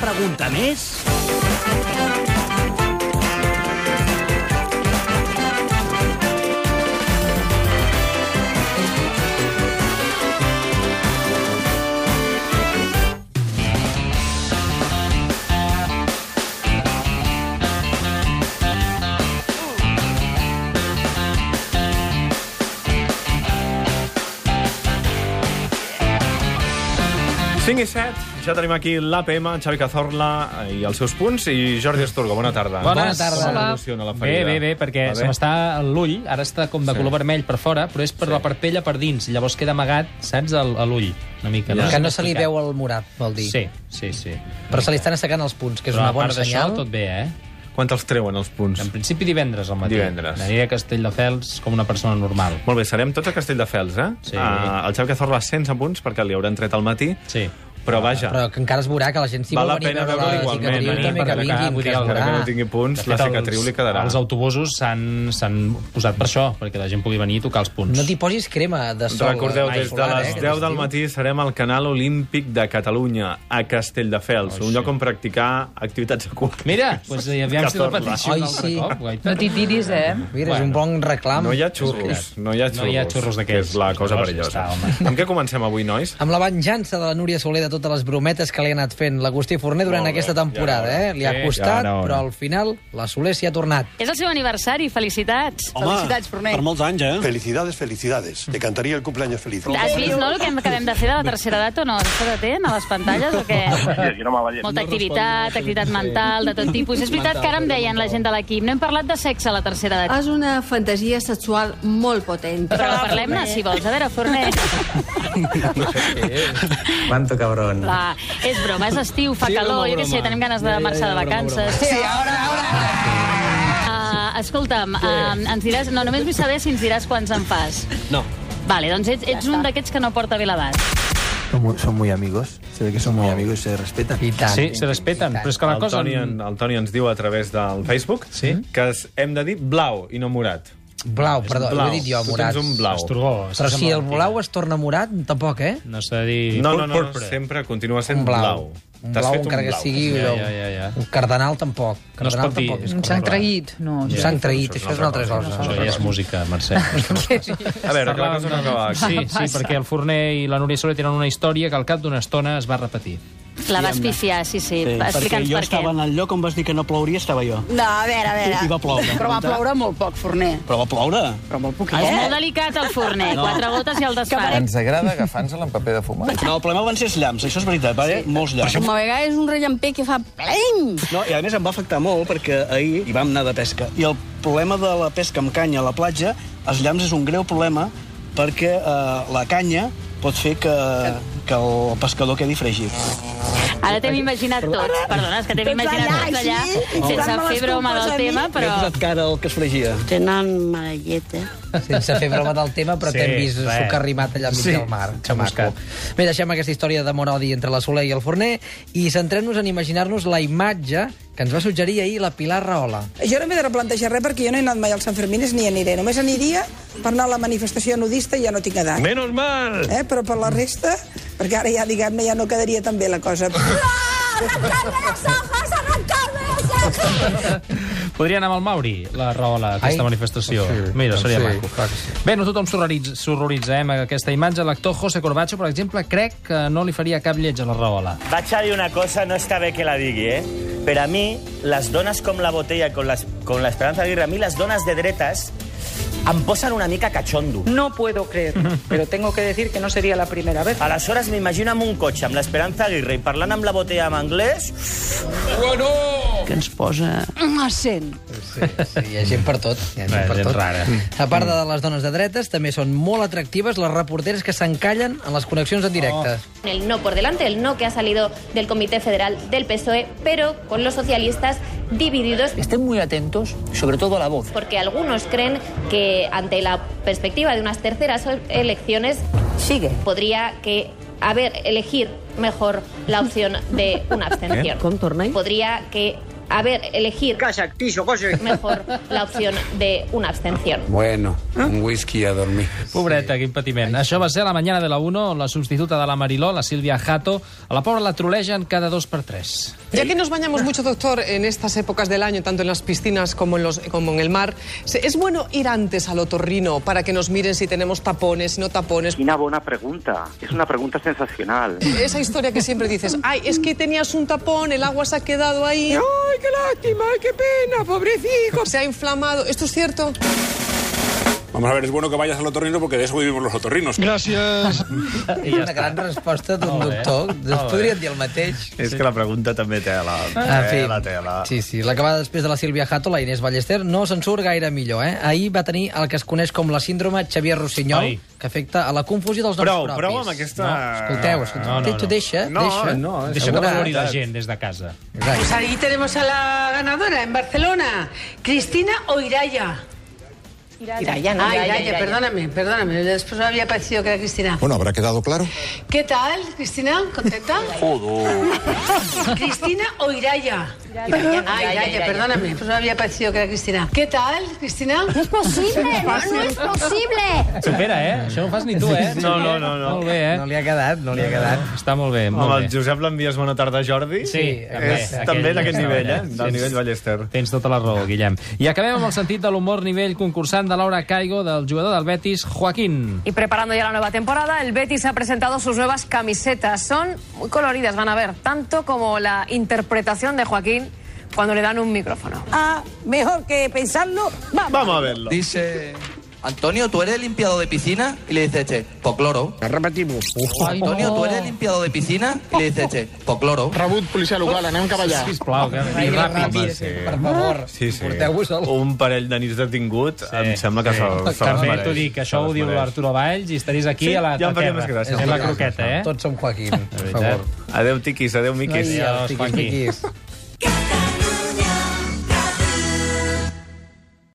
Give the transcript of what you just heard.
pregunta més? i 7, ja tenim aquí l'APM, en Xavi Cazorla eh, i els seus punts, i Jordi Esturgo, bona tarda. Bona tarda. Com Hola. evoluciona la Bé, ferida? bé, bé, perquè Va se m'està l'ull, ara està com de Sí. color vermell per fora, però és per la parpella per dins, llavors queda amagat, saps, el- a l'ull, una mica. Ja. Que no se li veu el morat, vol dir. Sí, sí, sí. Però se li estan assecant els punts, que és Però una a bona part d'això, senyal. tot bé, eh? Quan te'ls treuen, els punts? En principi divendres al matí. Divendres. Aniré a Castelldefels com una persona normal. Molt bé, serem tots a Castelldefels, eh? Sí. Ah, el Xavi Cazorla 100 punts, perquè li hauran tret al matí, Sí. però vaja... Però que encara es veurà que la gent s'hi Val vol la venir pena a veure veure-ho la igualment, cicatriu, eh? que Encara que- vinguin, que es encara que no veurà. tingui punts, De la fet, cicatriu els- li quedarà. Els autobusos s'han s'han posat per això, perquè la gent pugui venir i tocar els punts. No t'hi posis crema de sol. Recordeu, eh, des de solar, eh, les aquest 10 del estiu. matí serem al Canal Olímpic de Catalunya, a Castelldefels, un lloc on practicar activitats aquàtiques. Mira, doncs, aviam si Catorze. repeteixo Ai, un altre sí. cop. guaita. No t'hi tiris, eh? Mira, és un bon reclam. No hi ha xurros, no hi ha xurros. No hi ha xurros d'aquells. que És la cosa Llavors, perillosa. ja està, Amb què comencem avui, nois? Amb la venjança de la Núria Soler de totes les brometes que li ha anat fent l'Agustí Forner durant Molt bé, aquesta ja temporada, era hora. eh? Li ha Sí, costat, ja era hora. però al final la Soler s'hi ha tornat. És el seu aniversari, felicitats. Felicitats, Forner. Per molts anys, eh? Felicidades, felicidades. Te cantaría el cumpleaños feliz. Has vist, no, el que acabem de fer de la tercera edat o no? Això de té, a les pantalles o què? Molta activitat, activitat mental, de tot tipus. És veritat que ara em deien la gent de l'equip, no hem parlat de sexe a la tercera edat. És una fantasia sexual molt potent. Però parlem-ne, si vols. A veure, Forner. Cuánto cabrón. Va, és broma, és estiu, fa Sí, era una calor, jo què sé, broma. tenim ganes de Ja, ja, marxar de era una vacances. Sí, ara, ara! Uh, escolta'm, uh, ens diràs... No, només vull saber si ens diràs quants en fas. No. Vale, doncs ets, ets un d'aquests que no porta bé l'edat. Son muy, son muy amigos. Se ve que son muy amigos y se respetan. I tant. Sí, se respeten, però és que la El cosa... Toni, en- el Toni ens diu a través del Facebook Sí? que es- hem de dir blau i no morat. Blau, perdó, blau. ho he dit jo, Tu morat. tens un blau. Esturgó. Però si el blau es torna morat, tampoc, eh? No s'ha de dir... No, no, no, no, púrpura. sempre continua sent Un blau. blau. Un blau, encara que sigui... Ja, un- ja, ja, ja. Un cardenal tampoc. No es Cardenal pot dir. tampoc és Un correcte. sang traït, no. Un sang traït, això és una altra Això cosa. ja és música, Mercè. A veure, que la cosa no acaba aquí. Sí, sí, perquè el Forner i la Núria Soler tenen una història que al cap d'una estona es va repetir. La vas pifiar, sí, sí. sí Explica'ns per què. en el lloc on vas dir que no plouria, estava jo. No, a veure, a veure. I va ploure. Eh, Però va ploure molt poc, Forner. Però va ploure. Però molt Ah, és poquet. molt delicat el forner, no. quatre gotes i el desfà. Ens agrada agafar-nos-la en paper de fumar. No, el problema van ser els llamps, això és veritat, va haver molts llamps. Una vegada és un rellamper que fa pleng. No, I a més em va afectar molt perquè ahir hi vam anar de pesca. I el problema de la pesca amb canya a la platja, els llamps és un greu problema perquè eh, la canya pot fer que, que el pescador quedi fregit. Ara t'hem imaginat tots. Perdona, és que t'hem Tots imaginat allà, tots allà, així, sense tirant-me fer les broma culpes del a mi. tema, Però... però... He posat cara al que es fregia. Tenen mala llet, eh? Sense fer broma del tema, però Sí, t'hem vist res. socarrimat allà enmig Sí, del mar. s'ha buscat. Bé, deixem aquesta història d'amor odi entre la Soler i el Forner i centrem-nos en imaginar-nos la imatge que ens va suggerir ahir la Pilar Rahola. Jo no m'he de replantejar res perquè jo no he anat mai als Sanfermines ni aniré. Només aniria per anar a la manifestació nudista i ja no tinc edat. Menos mal! Eh? Però per la resta, perquè ara ja, diguem-ne, ja no quedaria tan bé la cosa. Podria anar amb el Mauri, la Rahola, a aquesta Ai, manifestació. sí, Mira, doncs seria sí, maco. clar que sí. Bé, no tothom s'horroritza s'horroritza, eh, amb aquesta imatge. L'actor José Corbacho, per exemple, crec que no li faria cap lleig a la Rahola. Vaig a dir una cosa, no està bé que la digui, eh? Per a mi, les dones com la Botella, com les- com l'Esperanza Aguirre, a mi les dones de dretes em posen una mica cachondo. No puedo creerlo, pero tengo que decir que no sería la primera vez. Aleshores m'imagino amb un cotxe, amb l'Esperanza Aguirre, i parlant amb la Botella en anglès... Que ens posa un accent. Sí, sí, hi ha gent per tot. Hi ha gent Bé, per gent tot. rara. A part de les dones de dretes, també són molt atractives les reporteres que s'encallen en les connexions en directe. Oh. El no por delante, el no que ha salido del Comité Federal del PSOE, pero con los socialistas divididos Estén muy atentos, sobre todo a la voz. porque algunos creen que ante la perspectiva de unas terceras elecciones Sigue. podría que haber elegir mejor la opción de una abstención. Contorna. Podría que a ver, elegir mejor la opción de una abstención. Bueno, ¿Eh? un whisky a dormir. Pobreta, quin patiment. Això va ser a la mañana de la 1, la substituta de la Mariló, la Sílvia Jato. A la pobra la trolegen cada dos per tres. Ya que nos bañamos mucho, doctor, en estas épocas del año, tanto en las piscinas como en, los, como en el mar, se- ¿es bueno ir antes al otorrino para que nos miren si tenemos tapones, si no tapones? Quina bona pregunta. És una pregunta sensacional. Esa historia que siempre dices, ay, es que tenías un tapón, el agua se ha quedado ahí. ¡Ay, qué lástima, ay, qué pena, pobrecito! Se ha inflamado. ¿Esto es cierto? Vamos a ver, es bueno que vayas al otorrino porque de eso vivimos los otorrinos. Gràcies. Una gran resposta d'un doctor. Es podrien dir el mateix. És que la pregunta també té Eh, la Ah, en fi. tela, tela. Sí, sí, l'acabada després de la Sílvia Jato, la Inés Ballester, no se'n surt gaire millor, eh? Ahir va tenir el que es coneix com la síndrome Xavier Rossinyol, Ai. que afecta a la confusió dels noms Prou, propis. prou amb aquesta- No, escolteu, escolteu, No, no, no. No, deixa, eh? deixa. no, és Deixa que Segura- valori la gent des de casa. Exacte. ahí tenemos a la ganadora en Barcelona, Cristina o Iraya. Iraya, no, Ah, Iraya, Iraya, Iraya. perdóname, perdóname. Después me había parecido que era Cristina. Bueno, ¿habrá quedado claro? ¿Qué tal, Cristina? ¿Contenta? Joder. ¿Cristina o Iraya? Iraya, Ah, Iraya, Iraya, Iraya. perdóname. Pues me había parecido que era Cristina. ¿Qué tal, Cristina? No es posible, no, no es posible. Supera, eh? Això no ho fas ni tu, eh? No, no, no. no. Molt bé, eh? No li ha quedat, no li ha quedat. Està molt bé, molt Amb el bé. Josep l'envies bona tarda, Jordi? Sí, també, és aquell també d'aquest estava nivell, eh? allà. Del Sí. nivell Ballester. Tens tota la raó, Guillem. I acabem amb el sentit de l'humor nivell concursant de Laura Caigo, del jugador del Betis, Joaquín. Y preparando ya la nueva temporada, el Betis ha presentado sus nuevas camisetas. Son muy coloridas, van a ver, tanto como la interpretación de Joaquín cuando le dan un micrófono. Ah, mejor que pensarlo, vamos. Vamos a verlo. Dice, Antonio, ¿tú eres el limpiador de piscina? Y le dice este, pocloro. Repetimos. Antonio, ¿tú eres el limpiador de piscina? Y le dice este, pocloro. Rebut, policia local, anem cap allà. Oh. Sisplau, que I ràpid, eh, per favor. Sí, sí. Porteu-vos el... Un parell de nits detingut, sí, em sembla que sí. se'ls se També t'ho dic, això ho diu l'Arturo Valls i estaries aquí Sí, a la ja em faria taquerra. més gràcia. Fent la Gràcies. croqueta, eh? Tots som Joaquín, per veritat. favor. Adéu, tiquis, adéu, miquis. Ai, els tiquis, miquis.